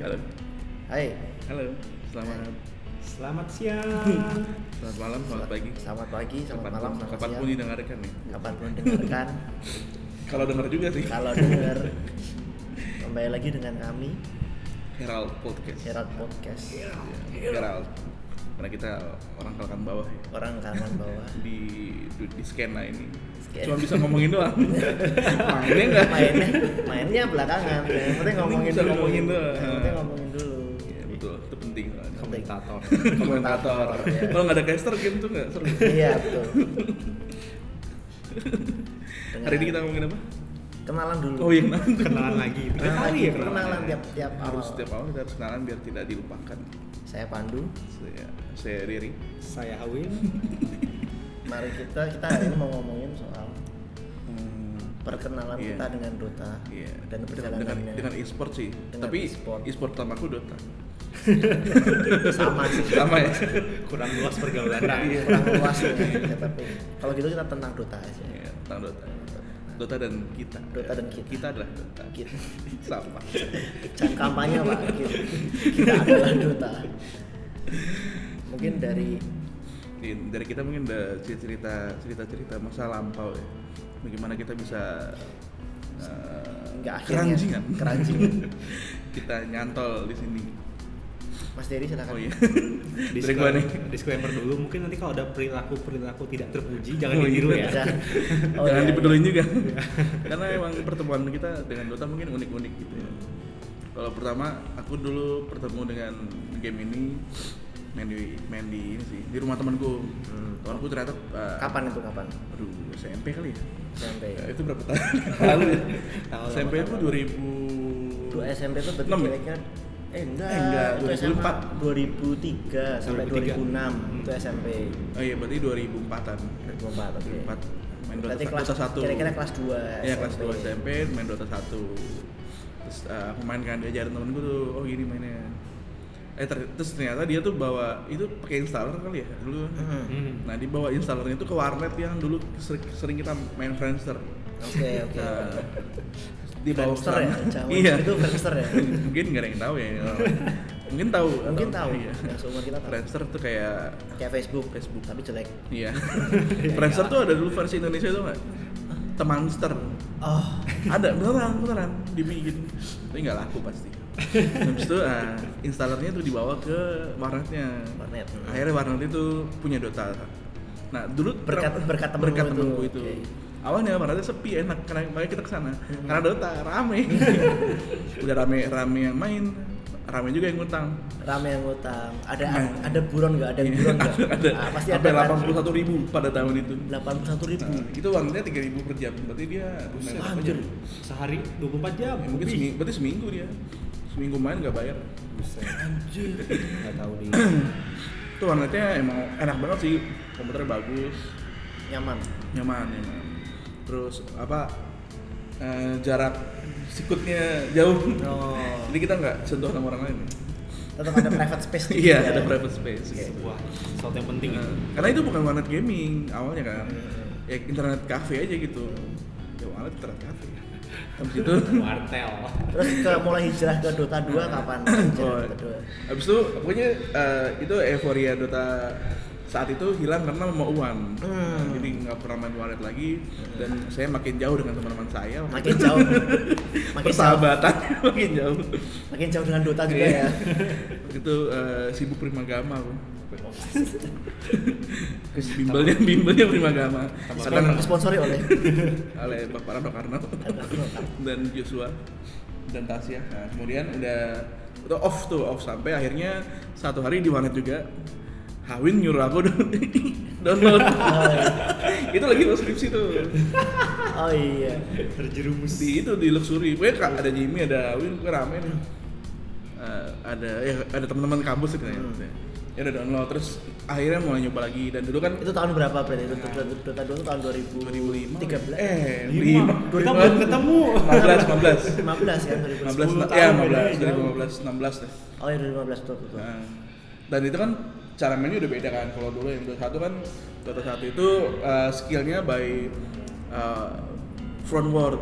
Halo. Hai, Halo. Selamat Selamat siang. selamat malam, selamat pagi. selamat pagi, selamat Kapanpun- malam, selamat Kapanpun siang. didengarkan nih. Kapanpun dengarkan, Kalau dengar juga sih. kalau dengar kembali lagi dengan kami Herald Podcast. Herald Podcast Ya, Herald. Karena kita orang kalangan bawah ya. orang kanan bawah. Di di, di skena ini. Skena. Cuma bisa ngomongin doang. Mainnya enggak. Mainnya, mainnya belakangan. Yang penting ngomongin bisa dulu. ngomongin dulu. Yang penting ngomongin dulu. Iya, betul. Itu penting. Penting. Komentator. Komentator. Iya. Kalau nggak ada caster game tuh nggak seru. Iya betul. Hari ini kita ngomongin apa? kenalan dulu. Oh iya, nanti. Kenalan lagi. Tiga Kenalan, kali ya kenalan. kenalan tiap tiap harus awal. setiap awal kita harus kenalan biar tidak dilupakan Saya Pandu. saya saya Riri Saya Hawin. Mari kita kita hari ini mau ngomongin soal hmm, perkenalan Iya. kita dengan Dota Iya. dan dengan, dengan, perjalanannya. dengan e-sport sih. Dengan Tapi e-sport. e-sport, pertamaku Dota. sama sih. Sama ya. Kurang luas pergaulan. Kurang, iya. kurang luas ya, ya, tapi kalau gitu kita tentang Dota aja Iya, tentang Dota. Dota dan kita. Dota dan kita. Kita adalah Dota. Kita. Sama. jangan kampanye pak kita, kita adalah Dota mungkin Hmm. dari Di- Dari kita mungkin ada cerita cerita cerita masa lampau ya. Bagaimana kita bisa eh, Nggak akhirnya. keranjingan. Keranjingan. kita nyantol di sini. Mas Dery silakan Oh iya. Dari gua Disclaimer, nih. disclaimer dulu, mungkin nanti kalau ada perilaku perilaku tidak terpuji Oh, jangan iya. ditiru ya. Jangan. Oh, Jangan iya. dipedulin juga. Karena emang pertemuan kita dengan Dota mungkin unik-unik gitu ya. Kalau pertama aku dulu bertemu dengan game ini main di main di ini sih di rumah temanku. Hmm. Temanku ternyata uh, kapan Iya. itu kapan Aduh, SMP kali ya. SMP Ya, itu berapa tahun? Lalu ya. Tahu lama, SMP itu tahu lama. 2000 dua SMP itu berarti Enam ya? kira-kira eh enggak, Eh, enggak, itu SMA 2004. 2003 sampai 2003. 2006 Hmm. itu SMP Oh iya, berarti 2004-an. 2004 2004 oke main Dota, berarti sa- kelas Dota 1. kira-kira kelas 2 Iya kelas 2 SMP main Dota 1 Terus eh, aku main kan diajarin temen gue tuh, oh gini mainnya Eh ter- terus ternyata dia tuh bawa, itu pakai installer kali ya dulu Hmm. Hmm. Nah dia bawa installernya itu ke warnet yang dulu sering, sering kita main Friendster oke oke Nah, Dia bawa ke Friendster ya? sana. Zaman Iya itu Friendster ya? Mungkin gak ada yang tahu ya Mungkin tahu mungkin atau- tahu iya. yang seumur kita tahu Friendster tuh kayak kayak Facebook Facebook. tapi jelek Iya Friendster tuh ada dulu versi Indonesia tuh gak? Temanster oh ada beneran beneran di Mi gitu tapi nggak laku pasti habis itu ah, installernya tuh dibawa ke warnetnya Warnet. Hmm. akhirnya warnet itu punya Dota nah dulu Berkat- ter- berkat temenmu berkat itu, temenku itu oke. Hmm. awalnya warnetnya sepi enak karena makanya kita kesana karena Dota rame udah rame rame yang main rame juga yang ngutang rame yang utang ada Nah. ada buron nggak ada buron nggak ada Ah, pasti ada sampai delapan puluh satu ribu pada tahun itu delapan ribu Nah, itu warnetnya tiga ribu per jam berarti dia Buset, berapa anjir. jam? Sehari 24 jam. Ya, mungkin seminggu, berarti seminggu dia seminggu main nggak bayar Anjir. Enggak tahu di. itu warnetnya emang enak banget sih komputer bagus nyaman nyaman nyaman terus apa eh, jarak sikutnya jauh Oh. jadi kita nggak sentuh sama orang lain tetap ada private space dikit iya ya. ada private space Oke. Sebuah sesuatu yang penting Nah, itu. karena itu bukan warnet gaming awalnya kan ya internet cafe aja gitu ya warnet internet cafe habis itu Wartel. terus ke mulai hijrah ke Dota 2 kapan hijrah Oh. ke Dota habis itu pokoknya eh, itu euforia Dota saat itu hilang karena mau uang Hmm. jadi nggak pernah main warnet lagi dan saya makin jauh dengan teman-teman saya 2 makin jauh makin jauh persahabatan makin jauh makin jauh dengan Dota juga Iya. ya itu eh, sibuk primagama aku bimbelnya bimbelnya primagama Tambah Sekarang Karena- disponsori oleh oleh Bapak Rano Karno dan Joshua dan Tasya. Nah, kemudian udah itu off tuh off sampai akhirnya satu hari di warnet juga Hawin nyuruh aku down- download. itu lagi lo skripsi tuh oh iya Terjerumus di itu di Luxury. Pokoknya ka- ada Jimmy, ada Hawin, gue rame nih. Eh, ada ya ada teman-teman kampus gitu ya. Hmm. Ya udah download terus akhirnya mulai nyoba lagi dan dulu kan itu tahun berapa berarti itu Dota, Dota 2 itu tahun 2000 2005 13 eh Lima. 5 Kita belum ketemu. 15 15 15 kan 15 ya 15 2010 10 tahun bedanya dari jauh. 15 16 deh. oh iya 2015 betul betul Nah, dan itu kan cara mainnya udah beda kan. Kalau dulu yang Dota 1 kan Dota 1 itu uh, skillnya by eh, uh, front word.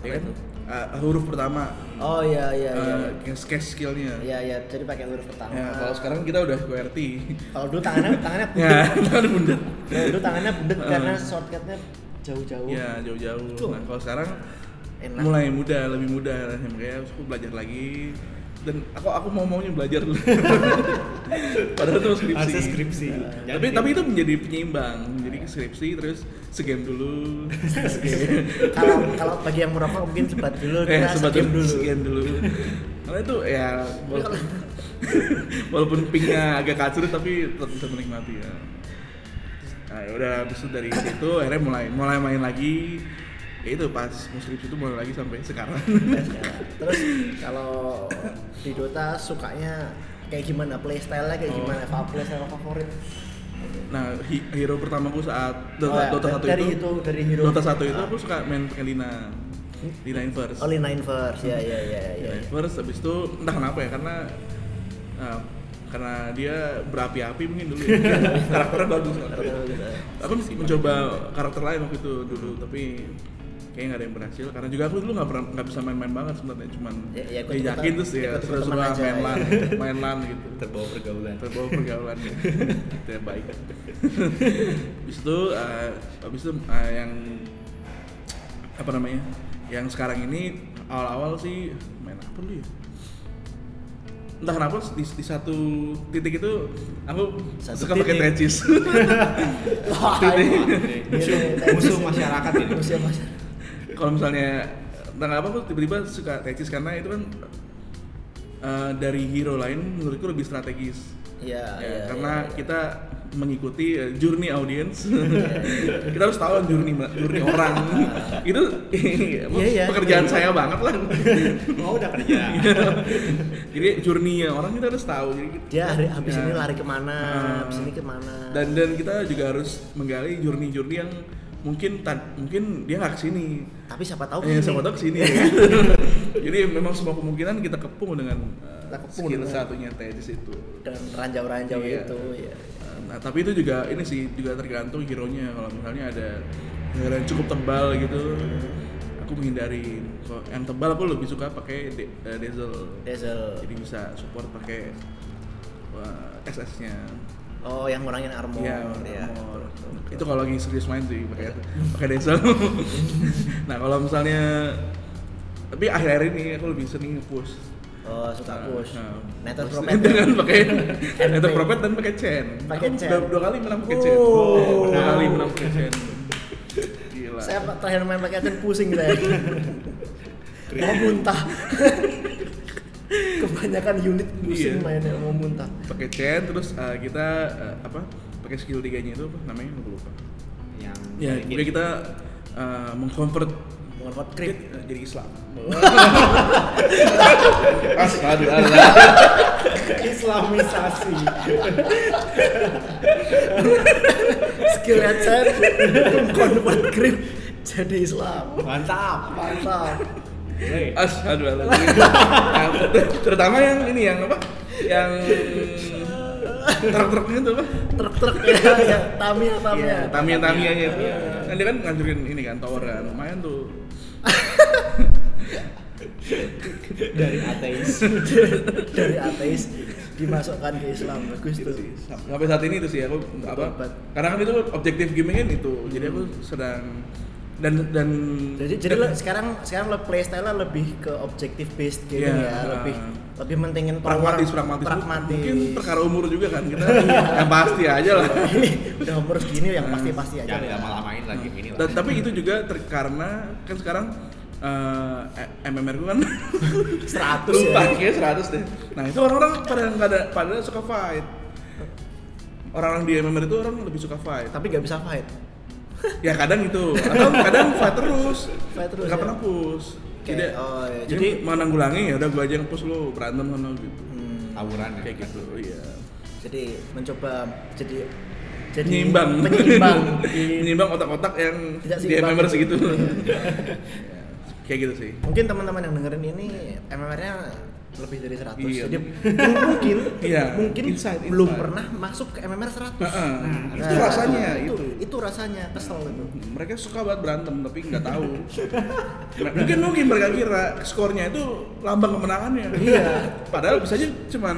Ya kan? Uh, huruf pertama Oh iya iya iya. eh, case case skillnya Iya iya, jadi pakai huruf pertama. ya kalau sekarang kita udah QWERTY Kalau dulu tangannya tangannya bundet. ya kan bundar Kalau dulu tangannya bundet Eh. karena shortcutnya jauh-jauh. ya Tuh. jauh-jauh nah kalau sekarang Enak. mulai mudah lebih mudah yang kayak aku belajar lagi dan aku aku mau maunya belajar padahal itu skripsi, Nah, Harusnya skripsi. Jangan tapi kayak- tapi itu menjadi penyeimbang jadi skripsi terus segame dulu Kalau kalau bagi yang merokok mungkin sebat dulu, eh kita sebat sebat dulu. dulu segame dulu karena itu ya walaupun, walaupun pingnya agak kacur tapi tetap bisa menikmati ya Nah, ya udah habis itu dari situ akhirnya mulai mulai main lagi. Ya itu pas muskripsi itu mulai lagi sampai sekarang. Terus kalau di Dota sukanya kayak gimana playstyle-nya Oh. kayak gimana? Apa playstyle favorit? nah, hi- hero pertamaku saat Dota, Oh, ya, Dota 1 dari itu, itu, dari hero. Oh, Dota 1 itu Ah. aku suka main pakai Lina. Lina Inverse. Only Nine Verse, ya ya ya ya. Lina Inverse habis itu entah kenapa ya karena eh, karena dia berapi-api mungkin dulu ya. karakternya bagus karakternya. iya. aku mesti mencoba karakter lain waktu itu dulu tapi kayaknya nggak ada yang berhasil karena juga aku dulu nggak pernah nggak bisa main-main banget sebenarnya cuman Ya, ya, ikut-ikutan- diajakin terus ya ikut-ikutan seru-seruan aja, main ya. lan main lan gitu terbawa pergaulan. terbawa pergaulan gitu ya baik habis itu eh, habis itu eh, yang apa namanya yang sekarang ini awal-awal sih main apa dulu ya entah kenapa di, di satu titik itu aku Satu suka pakai titik. tecis Wah, ya. Musuh, musuh masyarakat ini. gitu. Musuh masyarakat. kalau misalnya entah kenapa aku tiba-tiba suka tecis karena itu kan eh, dari hero lain menurutku lebih strategis Iya, Ya, iya. karena iya. kita mengikuti eh, journey audience kita harus tahu journey ma- journey orang itu Ah. Iya, iya. pekerjaan Iya. saya banget lah Oh udah kerja. jadi journey ya, orang kita harus tahu jadi kita- dia Iya, hari, habis Ya. ini lari kemana, Ah. habis ini kemana. dan dan kita juga harus menggali journey-journey yang mungkin tan- mungkin dia nggak kesini tapi siapa tahu eh, ini. sama tahu kesini jadi memang semua kemungkinan kita kepung dengan eh, Kita kepung skill dengan- satunya tesis itu dan ranjau-ranjau Iya. itu ya. Nah, tapi itu juga ini sih juga tergantung hero-nya. Kalau misalnya ada hero yang cukup tebal gitu, aku menghindari. Kalau yang tebal aku lebih suka pakai de- eh, Dazzle. Dazzle. Jadi bisa support pakai wah, SS-nya. Oh, yang ngurangin armor. Iya, ya. armor. Itu kalau lagi serius main sih pakai pakai Dazzle. nah, kalau misalnya tapi akhir-akhir ini aku lebih sering push Oh, suka push. Nah, Nether terus Prophet. dengan pakai Hand Nether paint. Prophet dan pakai chain. Pakai Aku chain. Dua, dua kali menang pakai chain. Oh. Dua Wow. kali menang pakai chain. Gila. Saya pak- terakhir main pakai Aten pusing saya. mau muntah. Kebanyakan unit pusing Iya. mainnya mau muntah. Pakai chain terus eh, kita eh, apa? Pakai skill tiganya itu apa namanya? Aku lupa. Yang Ya, bikin- kemudian kita eh, mengconvert Bukan hot creep. eh, jadi Islam. Astaga. Allah. Islamisasi. Skill headset bukan hot creep jadi Islam. Mantap. Mantap. Hey. Asyhadu an la ilaha illallah. Nah, Terutama yang ini yang apa? Yang truk-truknya itu apa? Truk-truk ya, ya. Tamiya, Tamiya. Iya, Tamiya Tamiya nya itu. Iya. Kan dia kan ngancurin ini kan tower kan. Lumayan tuh. Dari ateis. Dari ateis dimasukkan ke Islam. Bagus Gitu tuh. sih. Sam- Sampai saat ini itu sih aku apa? Obat. Karena kan itu objektif gaming kan itu. Jadi aku sedang dan dan Jadi jadi lo- sekarang sekarang lo playstyle lebih ke objective based gaming Iya. ya, lebih lebih mentingin power, pragmatis pragmatis pragmatis. mungkin perkara umur juga kan kita yang pasti aja lah Iya. udah umur segini yang pasti-pasti aja. Ya, Jangan lama-lamain lagi ini lah. Dan, tapi itu juga ter- karena kan sekarang eh, MMR gue kan 100 lupa ya. kayaknya 100 deh. Nah itu orang-orang pada pada pada suka fight. Orang-orang di MMR itu orang lebih suka fight. Tapi nggak bisa fight. Ya kadang itu atau kadang fight terus. Fight terus, Gak ya? pernah push. Oke, Jadi, oh, iya. jadi Jadi- mau nanggulangi ya udah gua aja yang push lu berantem sama gitu. Tawuran ya. Kayak gitu, iya. hmm, Jadi mencoba jadi jadi Penyimbang. Penyimbang. Di- Penyimbang otak-otak yang Tidak di seimbang. MMR segitu. Iya. Ya, Kayak gitu sih. Mungkin teman-teman yang dengerin ini MMR-nya lebih dari 100 Iya. jadi mungkin Iya, mungkin insight, belum insight. pernah masuk ke MMR 100 Heeh. Itu nah, rasanya, itu, itu. itu rasanya kesel itu mereka suka banget berantem tapi nggak tahu Mer- mungkin mungkin mereka kira skornya itu lambang kemenangannya Iya. padahal bisa aja cuman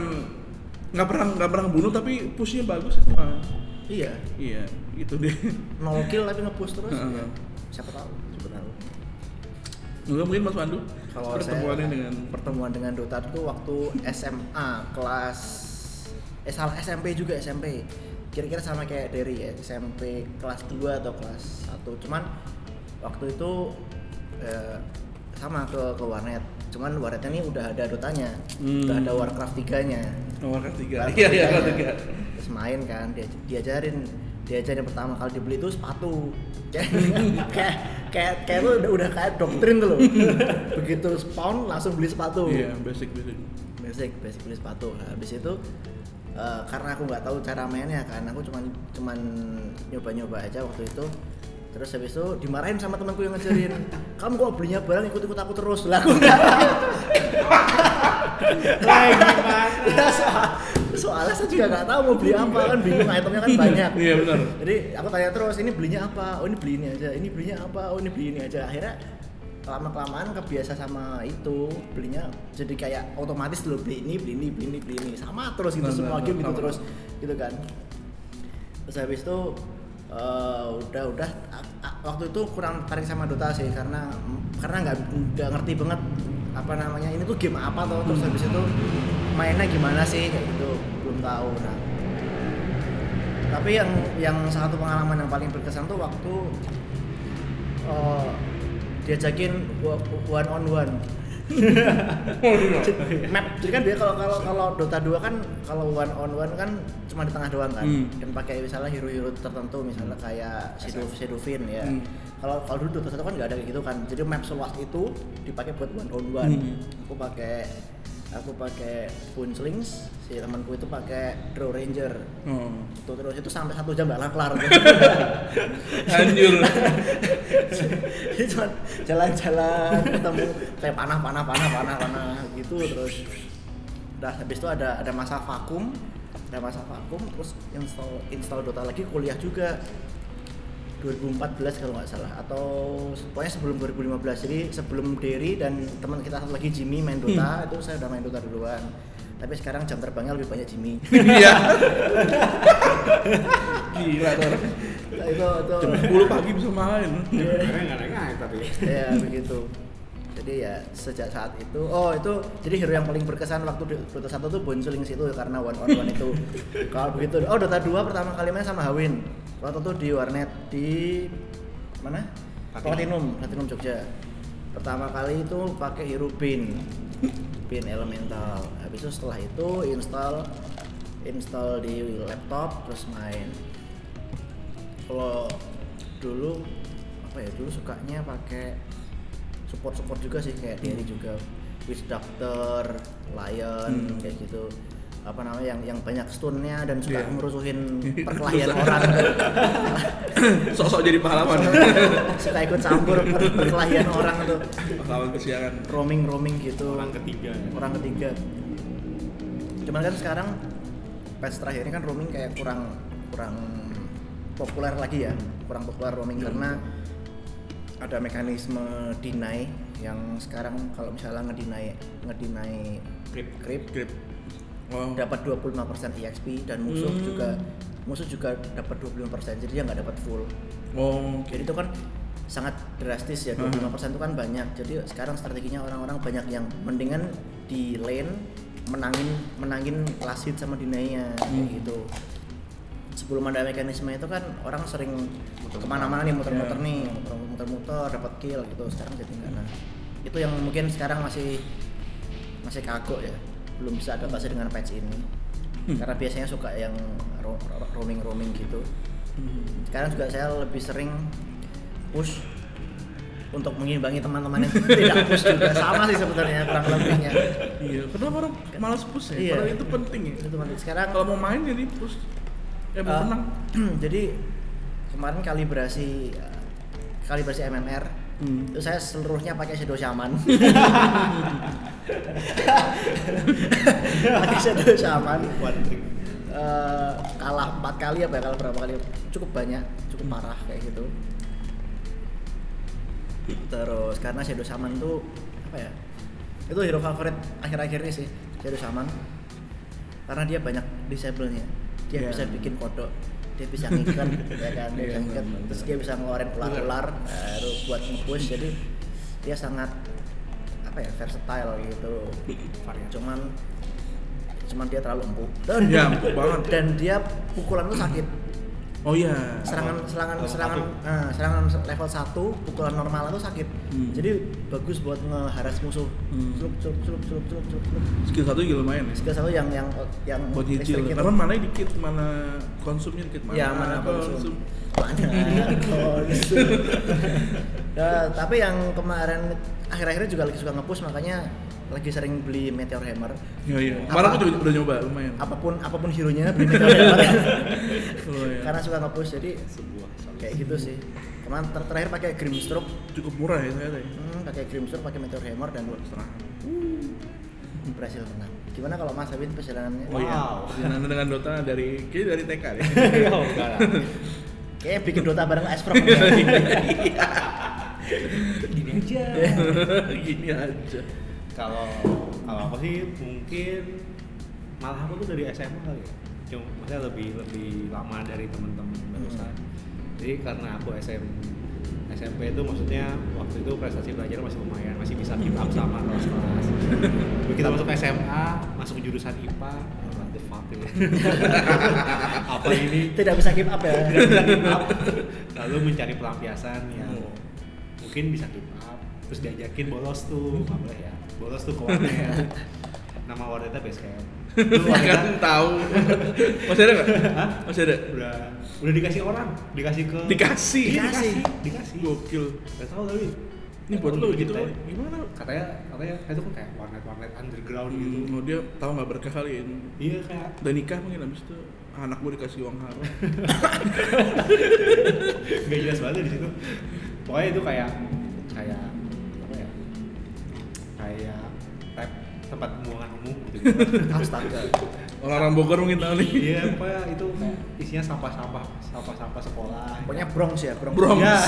nggak pernah nggak pernah bunuh tapi pushnya bagus itu mah. iya iya gitu deh no kill tapi nge-push terus Heeh. ya. siapa tahu siapa tahu mungkin mungkin Mas Pandu kalau pertemuannya saya, dengan pertemuan dengan Dota itu waktu SMA kelas eh salah SMP juga SMP kira-kira sama kayak Derry ya SMP kelas 2 atau kelas 1 cuman waktu itu eh, sama ke ke warnet cuman warnetnya ini udah ada Dotanya Hmm. udah ada Warcraft 3 nya nomor ketiga Warcraft iya iya nomor 3 -nya. tiga terus main kan dia, diajarin diajarin pertama kali dibeli itu sepatu kayak kayak kayak kayak lu udah, udah kayak doktrin tuh loh begitu spawn langsung beli sepatu iya basic basic basic basic beli sepatu nah, habis itu eh, karena aku nggak tahu cara mainnya kan aku cuman cuman nyoba-nyoba aja waktu itu terus habis itu dimarahin sama temanku yang ngajarin kamu kok belinya barang ikut-ikut aku terus lah aku nggak tahu. Lah, gimana? Ya, soal- soalnya saya juga nggak tahu mau beli apa kan bingung itemnya kan banyak iya benar jadi aku tanya terus ini belinya apa oh ini beli ini aja ini belinya apa oh ini beli ini aja akhirnya lama kelamaan kebiasa sama itu belinya jadi kayak otomatis lo beli ini beli ini beli ini beli ini sama terus gitu Nah, semua nah, game gitu sama. terus gitu kan terus habis itu eh, udah udah a- a- waktu itu kurang tertarik sama Dota sih karena karena nggak nggak ngerti banget apa namanya ini tuh game apa tuh terus habis itu mainnya gimana sih kayak gitu belum tahu nah tapi yang yang satu pengalaman yang paling berkesan tuh waktu eh, diajakin wa- one on one Jadi, map jadi kan dia kalau kalau kalau Dota 2 kan kalau one on one kan cuma di tengah doang kan Hmm. dan pakai misalnya hero-hero tertentu misalnya kayak Shadow Shadowfin ya Hmm. kalau kalau dulu Dota 1 kan nggak ada kayak gitu kan jadi map seluas itu dipakai buat one on one Hmm. aku pakai aku pakai Punslings si temanku itu pakai Draw Ranger oh itu terus itu sampai satu jam gak kelar anjur Jadi cuman jalan-jalan ketemu kayak panah panah panah panah panah gitu terus udah habis itu ada ada masa vakum ada masa vakum terus install install Dota lagi kuliah juga 2014 kalau nggak salah atau pokoknya sebelum 2015 jadi sebelum Derry dan teman kita satu lagi Jimmy main Hmm. Dota itu saya udah main Dota duluan tapi sekarang jam terbangnya lebih banyak Jimmy iya gila tuh orang. Nah, itu itu jam 10 pagi bisa main Iya. Karena nggak naik tapi. ya begitu jadi ya sejak saat itu oh itu jadi hero yang paling berkesan waktu di Dota 1 tuh bonsuling situ karena one on one itu kalau begitu oh Dota 2 pertama kali main sama Hawin waktu itu di warnet di mana Platinum Platinum. Platinum Jogja pertama kali itu pakai hero Bin Bin Elemental habis itu setelah itu install install di laptop terus main kalau dulu apa ya dulu sukanya pakai support support juga sih kayak Derry juga Witch Doctor, Lion Hmm. kayak gitu apa namanya yang yang banyak stunnya dan suka Iya. ngerusuhin perkelahian Susah. orang sok-sok jadi pahlawan suka ikut campur per- perkelahian orang tuh pahlawan kesiangan roaming roaming gitu Orang ketiga. orang ketiga cuman kan sekarang patch terakhir ini kan roaming kayak kurang kurang populer lagi ya kurang populer roaming karena ada mekanisme deny yang sekarang kalau misalnya ngedinai ngedinai Grip. grip grip oh dapat 25% EXP E dan musuh Hmm. juga musuh juga dapat 25% jadi dia nggak dapat full oh jadi itu kan sangat drastis ya 25% itu kan banyak. Jadi sekarang strateginya orang-orang banyak yang mendingan di lane menangin menangin last hit sama dinainya kayak Hmm. gitu. Sebelum ada mekanisme itu kan orang sering kemana-mana nih muter-muter Ya. nih muter-muter dapat kill gitu. Sekarang jadi nggak nah. Hmm. Itu yang mungkin sekarang masih masih kagok ya belum bisa adaptasi dengan patch ini Hmm. karena biasanya suka yang ro- ro- roaming-roaming gitu sekarang juga saya lebih sering push untuk mengimbangi teman-teman yang tidak push juga sama sih sebenarnya kurang lebihnya Iya, kenapa orang malas push ya? Iya. Padahal itu penting ya. itu teman sekarang Kalau mau main jadi push. Ya mau eh, menang. jadi kemarin eh, kalibrasi kalibrasi MMR Hmm. Terus saya seluruhnya pakai shadow shaman. pakai shadow shaman. Eh, kalah empat kali apa ya kalah berapa kali cukup banyak cukup parah kayak gitu terus karena Shadow Shaman tuh apa ya itu hero favorit akhir-akhir ini sih Shadow Shaman karena dia banyak disable-nya dia Iya. bisa bikin kodok dia bisa ngikat ya kan dia Iya, bisa ngikat benar, benar. terus dia bisa ngeluarin ular-ular baru buat nge-push jadi dia sangat apa ya versatile gitu cuman cuman dia terlalu empuk dan Iya, empuk banget. dan dia pukulan tuh sakit Oh iya. serangan Level- serangan level serangan eh, serangan level 1 pukulan normal itu sakit Hmm. jadi bagus buat ngeharas musuh Hmm. celup celup celup celup celup celup celup. Skill satu juga lumayan ya. skill satu yang yang yang Buat nyicil. restricted. Karena mana dikit, mana konsumnya dikit, mana, ya mana konsum konsum. mana konsum Ya, tapi yang kemarin akhir-akhirnya juga lagi suka ngepush makanya lagi sering beli meteor hammer Iya iya. Apa- Kemarin aku juga udah nyoba lumayan. apapun apapun hero-nya beli meteor hammer Lumayan. iya. karena suka ngepush jadi sebuah solusi. kayak gitu sih kemarin ter- terakhir pakai grimstroke Cukup murah ya ternyata ya. Hmm, pakai Grimstone, pakai Meteor Hammer dan Dua setengah. berhasil menang. Gimana kalau Mas Abin perjalanannya? Oh iya. Wow. Perjalanan dengan Dota dari kayaknya dari TK deh. Ya, enggak lah. Kayaknya bikin Dota bareng Asprof. ya. Gini aja. Gini aja. Kalau kalau aku sih mungkin malah aku tuh dari SMA kali ya. Cuma maksudnya lebih lebih lama dari teman-teman barusan. Jadi karena aku SM SMP itu maksudnya waktu itu prestasi belajar masih lumayan, masih bisa keep up sama kelas-kelas. Begitu masuk SMA, masuk jurusan IPA, what the fuck ini? Apa ini? Tidak bisa keep up ya. tidak bisa keep up lalu mencari pelampiasan yang Hmm. mungkin bisa keep up terus diajakin bolos Hmm. tuh nggak boleh ya bolos tuh ke Iya. warnet nama warnetnya base camp Dulu Kan warnet tahu. Masih ada nggak? Hah? Masih ada. udah udah dikasih orang dikasih ke Dikasih. Iya, dikasih dikasih Gokil. nggak tahu tapi Ini buat lo gitu. Katanya- Gimana? katanya katanya itu kan kayak warnet warnet underground gitu Hmm, oh dia tahu nggak berkah kali ya. iya kayak Udah nikah mungkin abis itu anak gue dikasih uang haram. nggak jelas banget di situ pokoknya itu kayak kayak apa ya kayak tep, tempat pembuangan umum gitu, Astaga. Orang-orang Bogor mungkin tahu nih. iya pokoknya itu kayak isinya sampah-sampah sampah-sampah sekolah Pokoknya Bronx ya, Bronx. Bronx. Iya.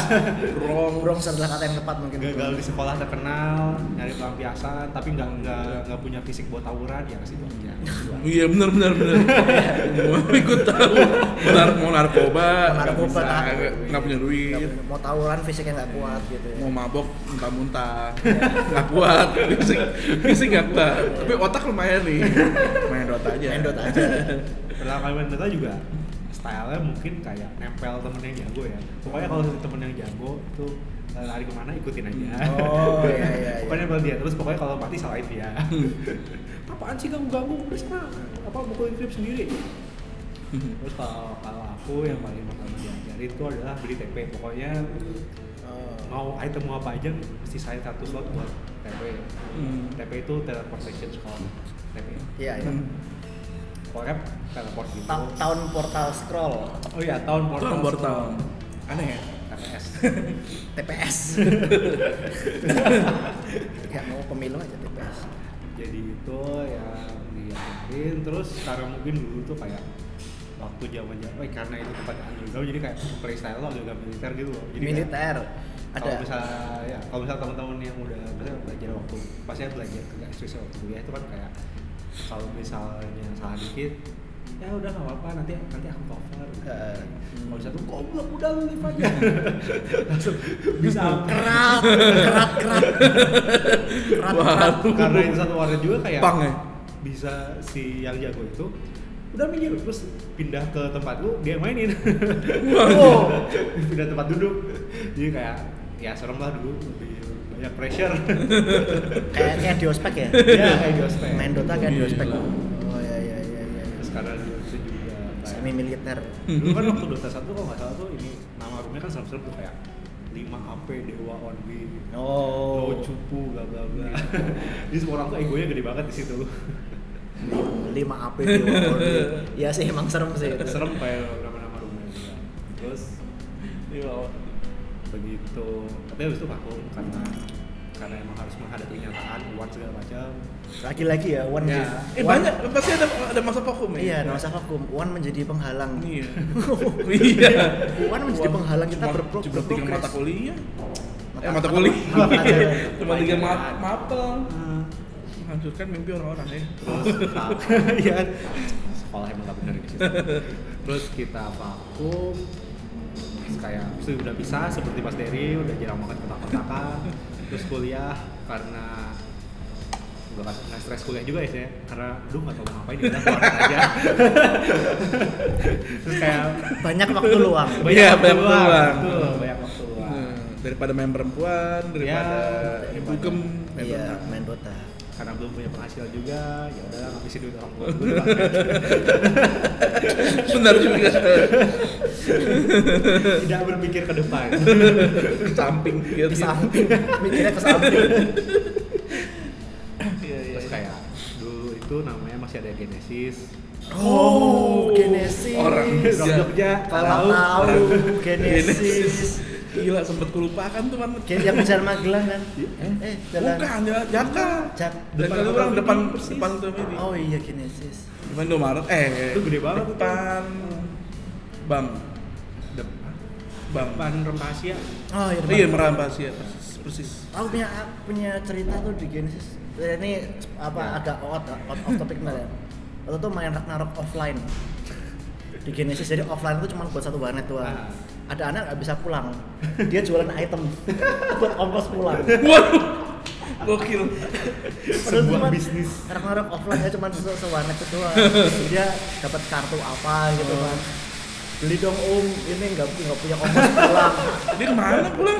Bronx. Bronx adalah kata yang tepat mungkin. gagal di sekolah terkenal nyari pelampiasan tapi nggak nggak nggak punya fisik buat tawuran ya kasih buat ya Iya benar benar benar. Mau ikut tahu. Benar mau narkoba, Mau nggak narkoba, bisa, tak. nggak- nggak punya ah. Nggak duit. Hmm. punya- Mau tawuran fisiknya nggak kuat gitu ya. Mau mabok muntah-muntah, nggak kuat, fisik fisik nggak kuat. Tapi otak lumayan nih. Main Dota aja. Main Dota aja. pertama kali main Dota juga stylenya mungkin kayak nempel temen yang jago ya pokoknya kalau temen yang jago itu eh, lari kemana ikutin aja Oh, iya, iya, iya. pokoknya nempel dia terus pokoknya kalau mati salahin dia apaan sih ganggu ganggu terus kenapa? apa mukulin klip sendiri terus kalau kalau aku yang paling pertama diajarin itu adalah beli TP pokoknya Oh. mau item mau apa aja mesti saya satu slot buat TP Hmm. TP itu teleportation slot TP Iya, iya. Hmm. pokoknya teleport gitu Ta- Tahun portal scroll Oh iya, tahun Itu portal. kan semua. Bortown. Aneh ya? TPS. TPS. ya mau pemilu aja TPS. Jadi itu yang diajarin terus karena mungkin dulu tuh kayak waktu zaman zaman eh, karena itu tempat underground jadi kayak playstyle lo agak militer gitu loh. Jadi kayak- Militer. Ada. Kalau misalnya ya, kalau misalnya teman-teman yang udah misalnya belajar waktu pasnya belajar ke ekstrisnya waktu kuliah itu kan kayak kalau misalnya salah dikit ya udah nggak apa-apa nanti nanti aku cover Eh, kalau satu goblok udah lu live aja langsung bisa kerat kerat kerat kerat kerat Waduh. karena itu satu warna juga kayak Pang ya? bisa si yang jago itu udah minggir terus pindah ke tempat lu dia yang mainin Waduh. pindah tempat duduk jadi kayak ya serem lah dulu lebih banyak pressure kayak kayak di ospek ya ya kayak di ospek main Dota kayak di ospek Gila. oh iya iya iya iya terus karena di ospek juga kayak- semi militer dulu kan waktu Dota 1 kalau nggak salah tuh ini nama roomnya kan serem-serem tuh kayak 5 AP Dewa on B oh Oh, cupu bla bla bla. Jadi semua orang tuh egonya gede banget di situ. lima AP di Wawordi. ya sih emang serem sih itu. Serem kayak nama-nama rumah juga. Terus Iya. begitu tapi habis itu vakum karena karena emang harus menghadapi kenyataan award segala macam Lagi-lagi ya, Wan. Ya. Eh Wan- banyak, pasti ada ada masa vakum ya. Iya, nggak usah vakum. Wan menjadi penghalang. Iya. Iya. Wan menjadi penghalang kita Cuma- berpro- cuma tiga mata berprogres. kuliah. Mata- eh mata mata kuliah. kuliah. Cuma tiga ma- Pelajaran. mapel. Menghancurkan mimpi orang-orang ya. Iya. Sekolah emang gak bener di situ. Terus kita vakum terus kayak terus udah bisa seperti Mas Dery udah jarang makan kotak-kotakan terus kuliah karena nggak nggak- nggak stres kuliah juga ya saya karena aduh nggak tahu mau ngapain udah keluar aja terus kayak Banyak waktu luang. Iya, banyak peluang. Hmm. betul, gitu banyak waktu luang Nah, daripada main perempuan, daripada daripada- dugem, main Ya, Iya, perempuan. main Dota. karena belum punya penghasilan juga ya udah ngabisin duit orang tua dulu lah. Benar juga. tidak berpikir ke depan Ke samping gitu. Ke samping. Iya, Mikirnya ke samping. Iya, iya. terus kayak dulu itu namanya masih ada Genesis Oh, Genesis. Orang Rock Jogja. Jogja kalau Kalau Iya. tahu Genesis. Genesis. Gila, sempet kulupakan tuh man. Gen yang bicara Magelang kan? Eh, jalan. Bukan, ya, Jaka. Jak. Dan Depan kalau hotel orang Mini, depan persis. depan tuh ini. Oh iya Genesis. Depan Indomaret. Eh, Itu gede banget itu. Depan Bang. depan Bang. depan rempah Asia Oh iya. Iya, depan. Meram Asia persis. persis. Aku punya aku punya cerita tuh di Genesis. Eh, Ini apa Ya. agak out, out of topic bentar ya. Waktu itu main Ragnarok offline di Genesis jadi offline itu cuma buat satu warnet doang. Ah. Ada anak nggak bisa pulang, dia jualan item buat ongkos pulang. Waduh. Gokil. Padahal Sebuah cuma bisnis. Ragnarok offline ya cuma se sewarnet itu doang. dia dapat kartu apa Oh. gitu kan. Beli dong om, ini nggak nggak punya ongkos pulang. Dia kemana pulang?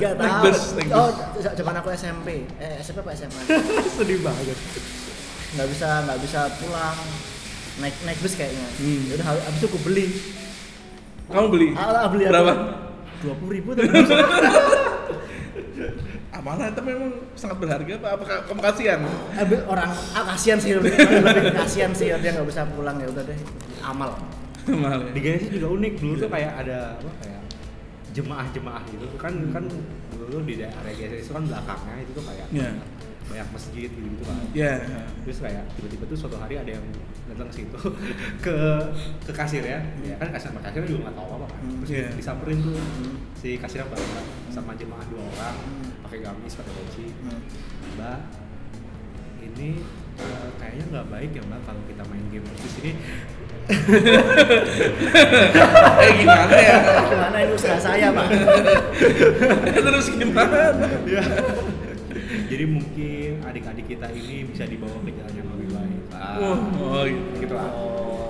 Gak Naik tahu. bus, naik bus. Oh, zaman aku SMP. Eh, SMP apa SMA? sedih banget Gak bisa, gak bisa pulang. Naik naik bus kayaknya. Hmm. Ya udah habis itu aku beli. Kamu beli? Ah, ah, beli Berapa? Dua puluh ribu terus. Amanah Ah, itu memang sangat berharga apa? Apakah kamu kasihan? Habis orang ah, kasihan sih lebih, lebih kasihan sih dia nggak bisa pulang ya udah deh. Amal. Mahal ya? di Genesis juga unik dulu tuh kayak ada apa kayak jemaah-jemaah gitu kan kan dulu di daerah Genesis itu kan belakangnya itu tuh kayak Iya. banyak masjid gitu, gitu kan Iya. terus kayak tiba-tiba tuh suatu hari ada yang datang ke situ ke ke kasir ya, ya kan kasir sama kasir juga nggak tahu apa kan terus Iya. disamperin tuh Hmm. si kasir yang baru sama jemaah dua orang pakai gamis pakai peci Hmm. mbak ini eh, kayaknya nggak baik ya mbak kalau kita main game terus di sini Eh gimana ya? Gimana ini usaha saya, Pak? Terus gimana? ya jadi mungkin adik-adik kita ini bisa dibawa ke jalan yang lebih baik ah, Wah, oh, gitu. gitu lah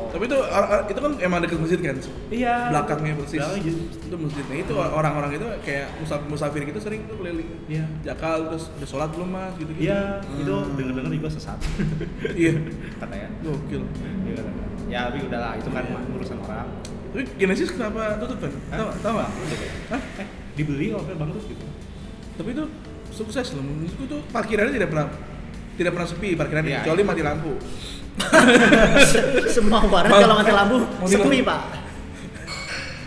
Tapi itu or- or- itu kan emang dekat masjid kan? iya gitu. Belakangnya persis. belakang jadi Itu masjidnya itu orang-orang itu kayak musafir, musafir gitu sering tuh keliling. Iya. Jakal terus udah sholat belum mas gitu gitu. iya itu denger-denger juga sesat Iya. katanya Gokil. Iya. ya tapi udahlah itu Iya. kan urusan orang Tapi Genesis kenapa tutup kan? Hah? Tahu tahu nggak? Hah? eh dibeli oleh bangkrut gitu Tapi itu sukses loh. Menurutku tuh parkirannya tidak pernah tidak pernah sepi parkirannya Iya. kecuali mati lampu. Semua warnet Mau- kalau mati lampu mau sepi, lampu. Pak.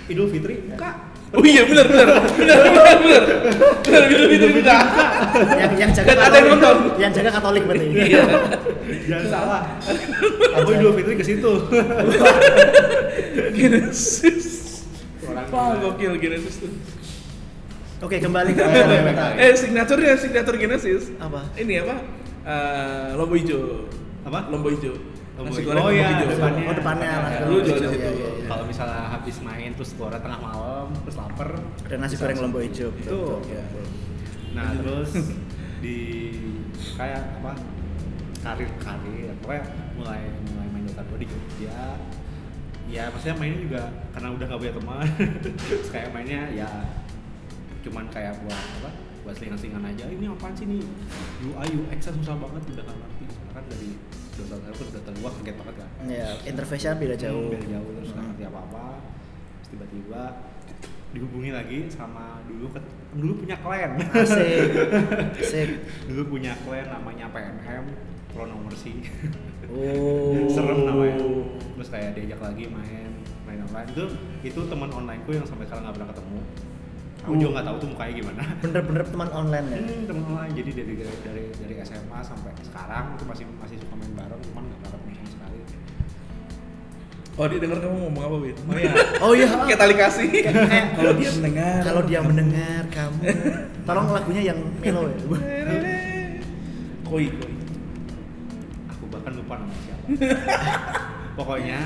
Idul Fitri buka Oh iya benar benar benar benar benar benar benar benar Iya, benar. Yang yang jaga Dan ada yang Katolik- nonton. Yang jaga Katolik berarti. Iya. jangan salah aku Idul Fitri ke situ Genesis. Orang Wah gila. gokil Genesis tuh. Oke, kembali ke Dota. eh signaturnya signatur Genesis Apa? ini apa Eh lombo hijau Apa? lombo hijau Lombo Nasi hijau. goreng Oh, lombo iya, hijau. depannya. Oh, depannya lah. Ya, dulu jual di situ. Iya, iya, iya. kalau misalnya habis main terus keluar tengah malam terus lapar Ada nasi bisa goreng langsung. lombok hijau. itu ya. nah Iya. terus di kayak apa karir karir pokoknya mulai mulai main Dota 2 di Jogja ya maksudnya mainnya juga karena udah gak punya teman terus kayak mainnya ya cuman kayak buat apa buat selingan-selingan aja "Eh, ini apaan sih nih UI UX -nya susah banget udah gak ngerti kan dari Dota 1 ke Dota 2 kaget banget kan Ya, interface-nya beda jauh. Biar Hmm, jauh terus nggak Hmm. ngerti apa apa terus tiba-tiba dihubungi lagi sama dulu ke, dulu punya clan Asik. Asik. dulu punya clan namanya PNM Chronomercy Oh. serem namanya terus kayak diajak lagi main main online itu itu teman onlineku yang sampai sekarang nggak pernah ketemu aku Oh. juga nggak tahu tuh mukanya gimana bener-bener teman online ya hmm, teman-teman lain. jadi dari, dari dari dari SMA sampai sekarang itu masih masih suka main bareng cuman nggak pernah ketemu sama sekali Oh dia denger kamu ngomong apa Win? oh iya oh iya Kayak tali kasih Eh, Kalau dia mendengar kalau dia mendengar kamu tolong lagunya yang melo ya Koi koi aku bahkan lupa nama siapa pokoknya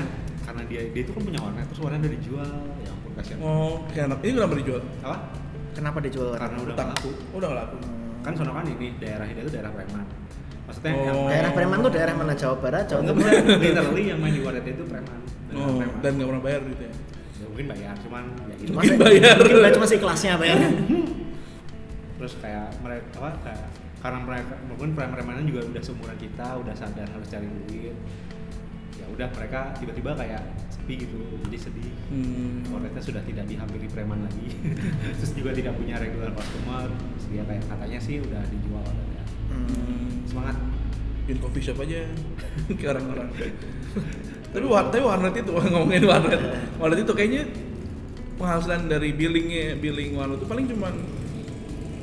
karena dia dia itu kan punya warnet terus warnet udah dijual ya ampun kasihan Oh kayak anak ini kenapa dijual? apa kenapa dijual karena udah nggak Utang laku Oh udah gak laku kan sono kan ini daerah dia itu daerah preman maksudnya yang Oh. daerah preman tuh daerah mana Jawa Barat Jawa Enggak, Timur bukan. literally yang main di warnet itu preman Daerah Oh preman. dan gak pernah bayar duitnya Ya, mungkin bayar cuman ya gitu Cuman Mungkin bayar. iya? mungkin bayar Iya. cuma seikhlasnya bayar terus kayak mereka apa kayak karena mereka mungkin preman-premanan juga udah seumuran kita udah sadar harus cari duit ya udah mereka tiba-tiba kayak sepi gitu jadi sedih Hmm Cornetnya sudah tidak dihampiri preman lagi terus juga tidak punya regular customer terus dia kayak katanya sih udah dijual udah ada. Hmm. Hmm. semangat Bikin coffee shop aja Kayak orang-orang Tapi, war, tapi warnet itu ngomongin warnet Warnet itu kayaknya penghasilan dari billingnya billing warnet itu paling cuman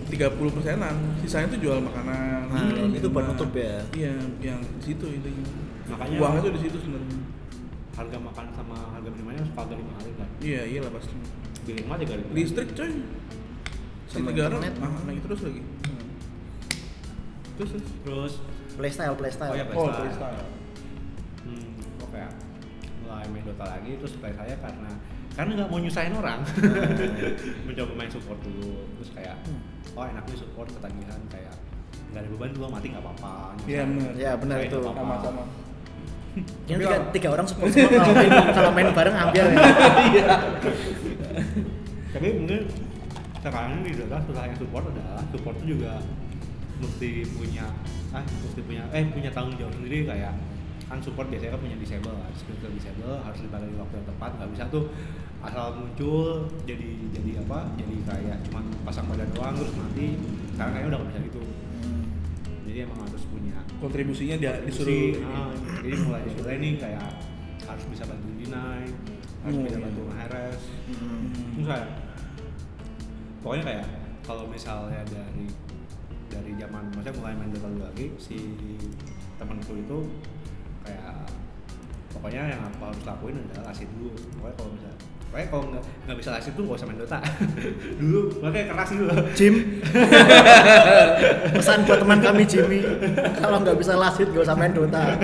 30 persenan sisanya tuh jual makanan Hmm, jual itu buat minuman. nutup ya? iya yang di situ itu Makanya- uangnya tuh di situ sebenarnya harga makan sama harga minumannya harus pagar lima kali kan iya iya lah pasti beli lima tiga ribu listrik coy Sama sama negara internet. mahal naik terus lagi terus terus terus playstyle oh ya playstyle oh playstyle. playstyle hmm, oke ya. mulai main Dota lagi terus play saya karena karena nggak mau nyusahin orang mencoba main support dulu terus kayak Hmm. oh enaknya support ketagihan kayak nggak ada beban dulu mati nggak apa-apa iya benar ya benar Kayak itu nggak apa-apa. sama-sama ini tiga, tiga orang support semua kalau main, kalau main bareng ambil ya tapi mungkin sekarang di Dota susahnya support adalah support itu juga mesti punya ah mesti punya eh punya tanggung jawab sendiri kayak kan support biasanya kan punya disable harus skill disable harus dibagi di waktu yang tepat nggak bisa tuh asal muncul jadi jadi apa jadi kayak cuman pasang badan doang terus mati sekarang kayaknya udah nggak bisa gitu jadi emang harus punya kontribusinya dia disuruh Jadi, ini. ah, jadi mulai dari training kayak harus bisa bantu dinai harus Oh, bisa iya. bantu ngeheres Hmm. Terus kayak pokoknya kayak kalau misalnya dari dari zaman maksudnya mulai main Dota dulu lagi si temanku itu kayak pokoknya yang aku harus lakuin adalah asid dulu pokoknya kalau misalnya pokoknya kalau nggak nggak bisa asid tuh nggak usah main Dota dulu makanya keras gitu loh Jim pesan buat teman kami Jimmy kalau nggak bisa lasit gak usah main Dota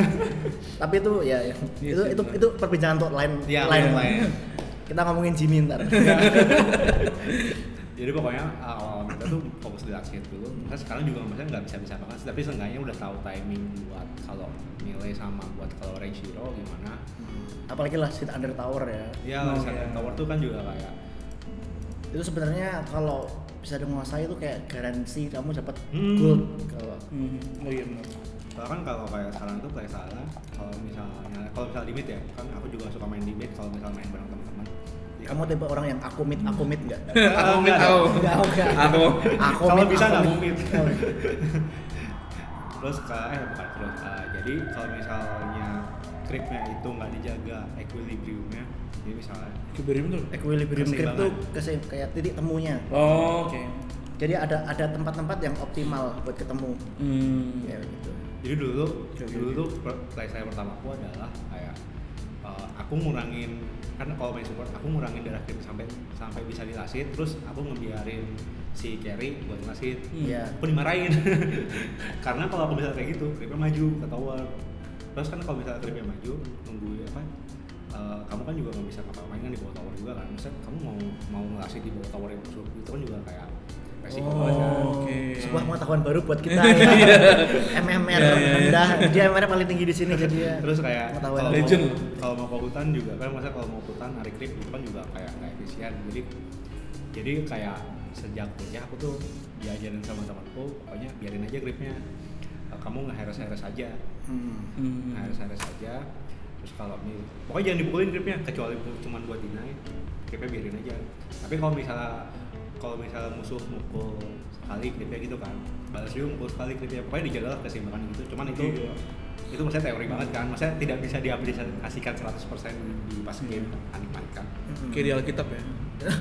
tapi itu ya, ya. Iya itu sih, itu benar. itu perbincangan untuk lain Iya, lain lain. kita ngomongin Jimmy ntar jadi pokoknya awal kita tuh fokus di aksi dulu Terus sekarang juga maksudnya nggak bisa-bisa banget sih, tapi seenggaknya udah tahu timing buat kalau nilai sama buat kalau range hero gimana apalagi lasit under tower ya ya Oh, misalnya iya. tower tuh kan juga kayak itu sebenarnya kalau bisa menguasai itu kayak garansi kamu dapat Hmm. gold kalau Hmm. oh iya benar soalnya kan kalau kayak sekarang tuh kayak salah kalau misalnya kalau misal limit ya kan aku juga suka main limit kalau misal main bareng teman-teman Ya, Jadi kamu tipe orang yang aku meet aku meet nggak aku Aku nggak tahu tahu. Nggak, aku nggak. aku aku meet, Kalau Oh, iya. bisa aku nggak mau meet. meet. terus ke eh bukan terus eh, jadi kalau misalnya creepnya itu nggak dijaga equilibriumnya jadi misalnya keberim tuh equilibrium Keseimbangan. crypto keseim kayak titik temunya oh, oke jadi ada ada tempat-tempat yang optimal buat ketemu Hmm. ya gitu jadi dulu Oke, oke, dulu oke. tuh per- play saya pertamaku adalah kayak eh, aku ngurangin kan kalau main support aku ngurangin darah creep sampai sampai bisa dilasit terus aku ngebiarin si carry buat ngelasit Hmm. Iya. aku dimarahin karena kalau aku bisa kayak gitu creepnya maju ke tower terus kan kalau misalnya creepnya maju nunggu apa eh, kamu kan juga nggak bisa ngapa-ngapain kan di bawah tower juga kan misalnya kamu mau mau ngelasit di bawah tower yang musuh itu kan juga kayak resiko Oh, banget kan. oke. sebuah pengetahuan baru buat kita ya. MMR Iya, iya, iya. rendah dia MMR paling tinggi di sini jadi ya terus kayak pengetahuan kalau Legend. mau, kalau mau ke hutan juga kan masa kalau mau ke hutan narik klip itu kan juga kayak nggak efisien jadi jadi kayak sejak kuliah aku tuh diajarin sama temanku pokoknya biarin aja gripnya kamu nggak heres heres aja Hmm. Hmm. heres heres aja terus kalau nih pokoknya jangan dipukulin gripnya kecuali bu- cuman buat dinai gripnya biarin aja tapi kalau misalnya kalau misalnya musuh mukul sekali gripnya gitu kan balas juga mukul sekali gripnya pokoknya dijagalah keseimbangan gitu cuman itu Iya. itu maksudnya teori banget kan maksudnya tidak bisa diaplikasikan 100% di pas game kan aneh banget kan Mm-mm. kayak di Alkitab ya Kita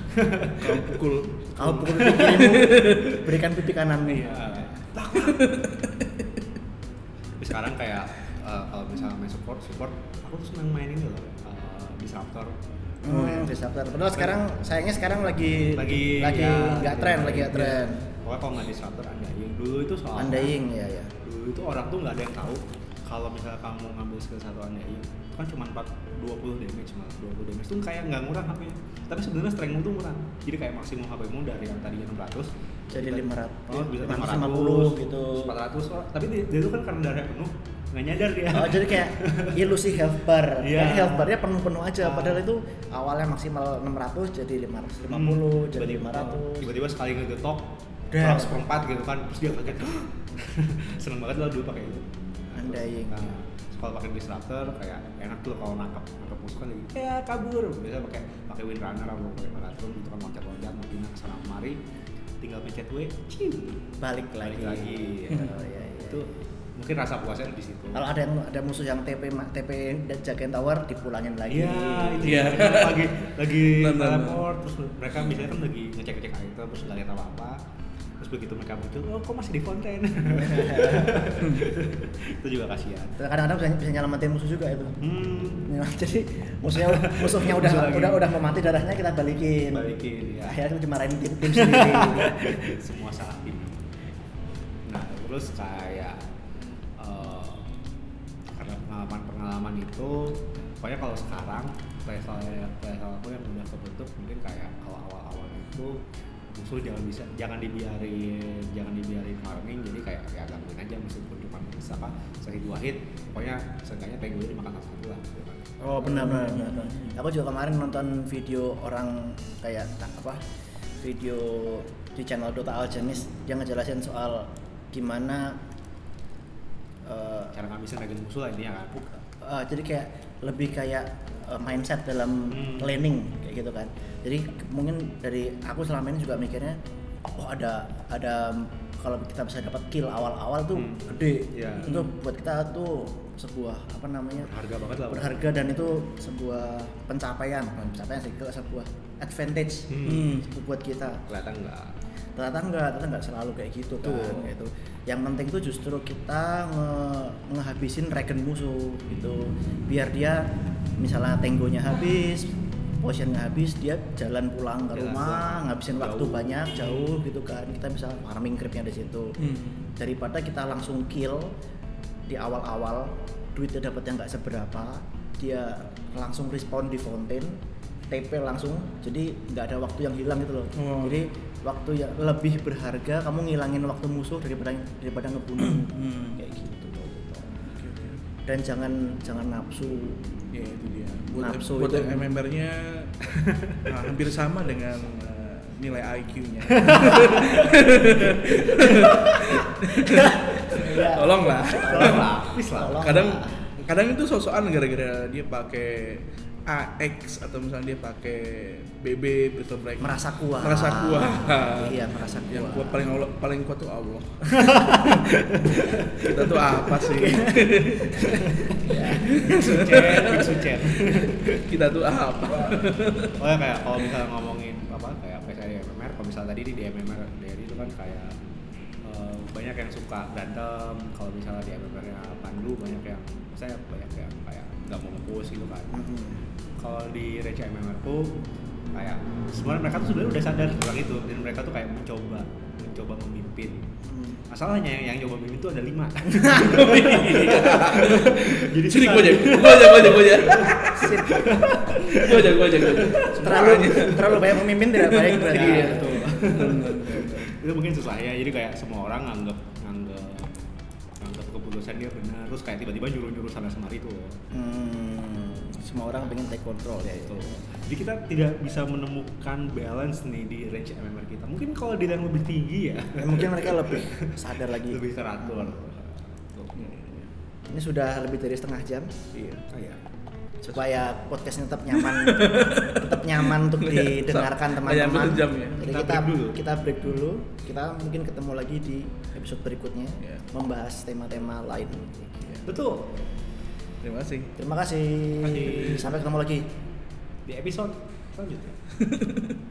Kalau pukul Kalau pukul kirimu, berikan pipi kananmu. Iya. Tapi sekarang kayak eh, kalau misalnya main support, support aku tuh seneng main ini loh, eh, disruptor. Hmm, disruptor. Padahal sekarang sayangnya sekarang lagi Lagi lagi ya, nggak tren, lagi nggak tren. Pokoknya kalau nggak disruptor andain. Dulu itu soal Andaing ya ya. Dulu itu orang tuh nggak ada yang tahu kalau misalnya kamu ngambil skill satu andain itu kan cuma 4 20 damage malah 20 damage tuh kayak nggak ngurang HP-nya. Tapi sebenarnya strength-mu tuh ngurang. Jadi kayak maksimum HP-mu dari yang tadinya 600 Jadi kita- 500, Oh, bisa 650 650 gitu. 400 oh, tapi dia, dia tuh kan karena darah penuh nggak nyadar dia Oh, jadi kayak ilusi health bar. Iya. Jadi health barnya penuh-penuh aja. Ah. Padahal itu awalnya maksimal 600 jadi 550 jadi Hmm. Tiba-tiba- 500. tiba-tiba sekali ngegetok Dar. kurang seperempat gitu kan terus dia kaget seneng banget lah dulu pakai itu Andaing. Nah, terus kalau pakai disruptor kayak enak tuh kalau nangkap nangkap musuh kan lagi ya kabur biasa pakai pakai windrunner atau pakai maratron gitu kan loncat-loncat mau pindah ke sana kemari tinggal pencet W ciu Balik lagi. balik lagi ya. Oh, iya, iya. itu mungkin rasa puasnya di situ Kalau ada yang ada musuh yang TP ma- TP dan jagain tower dipulangin lagi. Iya, itu Iya. dia. lagi lagi Benar, benar. teleport terus mereka biasanya kan lagi ngecek-ngecek item terus nggak lihat apa-apa. Terus begitu mereka muncul, oh kok masih di konten? itu juga kasihan. Dan Kadang-kadang bisa, bisa nyelamatin musuh juga itu. Hmm, Ya, jadi musuhnya musuhnya udah Musuh lagi. udah udah mau mati darahnya kita Iya, balikin. balikin ya. Akhirnya cuma marahin tim, tim sendiri. Semua salah tim. Nah, terus kayak eh, karena pengalaman-pengalaman itu pokoknya kalau sekarang playstyle playstyle aku yang udah kebentuk mungkin kayak kalau awal-awal itu musuh jangan bisa jangan dibiarin jangan dibiarin farming jadi kayak ya gangguin aja meskipun cuma bisa apa sehit dua hit pokoknya seenggaknya pengen gue dimakan sama satu lah gitu kan. Oh benar benar benar. benar. Aku juga kemarin nonton video orang kayak tak- apa video di channel Dota Alchemist yang ngejelasin soal gimana eh, cara ngabisin regen musuh lah intinya kan Eh, jadi kayak lebih kayak eh, mindset dalam Hmm. planning kayak gitu kan jadi ke- mungkin dari aku selama ini juga mikirnya oh ada ada kalau kita bisa dapat kill awal-awal tuh Hmm. gede Iya. itu buat kita tuh sebuah apa namanya harga banget lah berharga dan itu sebuah pencapaian bukan pencapaian sih kayak sebuah advantage Hmm. buat kita kelihatan nggak ternyata enggak ternyata enggak selalu kayak gitu kan Betul. kayak itu yang penting tuh justru kita nge- ngehabisin regen musuh gitu biar dia misalnya tenggonya habis potionnya habis dia jalan pulang ke Jalan rumah pulang. ngabisin waktu Jauh. banyak jauh gitu kan kita bisa farming creepnya di situ Hmm. daripada kita langsung kill di awal-awal duitnya dapat yang nggak seberapa dia langsung respon di fountain TP langsung jadi nggak ada waktu yang hilang gitu loh Oh. jadi waktu yang lebih berharga kamu ngilangin waktu musuh daripada daripada ngebunuh Hmm. kayak gitu loh Oke, oke. dan jangan jangan nafsu Ya itu dia. Buat, Nafsu buat itu. MMR-nya nah, hampir sama dengan eh, nilai IQ-nya. Ya. Tolonglah. tolonglah Tolonglah. Kadang kadang itu sosokan gara-gara dia pakai AX atau misalnya dia pakai BB Battle Break. merasa kuat Merasa kuat. iya merasa kuat Yang kuat paling Allah, paling kuat tuh Allah. Kita tuh apa sih? Sucen, Big Sucen. Kita tuh apa? Oh ya kayak kalau misalnya ngomongin apa kayak PSR di MMR, kalau misalnya tadi di MMR dari itu kan kayak eh, banyak yang suka berantem, kalau misalnya di MMR-nya Pandu banyak yang saya banyak yang kayak nggak mau nge-push gitu kan. Mhm. Kalau di Rage MMR tuh kayak sebenarnya mereka tuh sebenarnya udah sadar tentang itu dan mereka tuh kayak mencoba mencoba memimpin Hmm. masalahnya yang, yang coba memimpin tuh ada lima Jadi sini susah. ya? gua aja, gua aja, gua aja, gua aja. Sip. Gua aja, gua aja, gua aja. terlalu terlalu banyak pemimpin tidak baik berarti Iya, betul. itu mungkin susah ya jadi kayak semua orang nganggep nganggep nganggep keputusan dia benar terus kayak tiba-tiba nyuruh-nyuruh sana semari itu loh Hmm, semua orang pengen take control ya itu. Tuh. jadi kita tidak bisa menemukan balance nih di range MMR kita mungkin kalau di yang lebih tinggi ya Ya, mungkin mereka lebih sadar lagi. lebih teratur Tuh. iya. Ini sudah lebih dari setengah jam Iya. Ah, ya. supaya podcastnya tetap nyaman, tetap nyaman untuk didengarkan Sa- teman-teman. ayam sejam ya. Jadi Kita kita break dulu. kita break dulu. Kita mungkin ketemu lagi di episode berikutnya Iya. membahas tema-tema lain. betul Terima kasih. Terima kasih. Terima kasih. Sampai ketemu lagi. di episode selanjutnya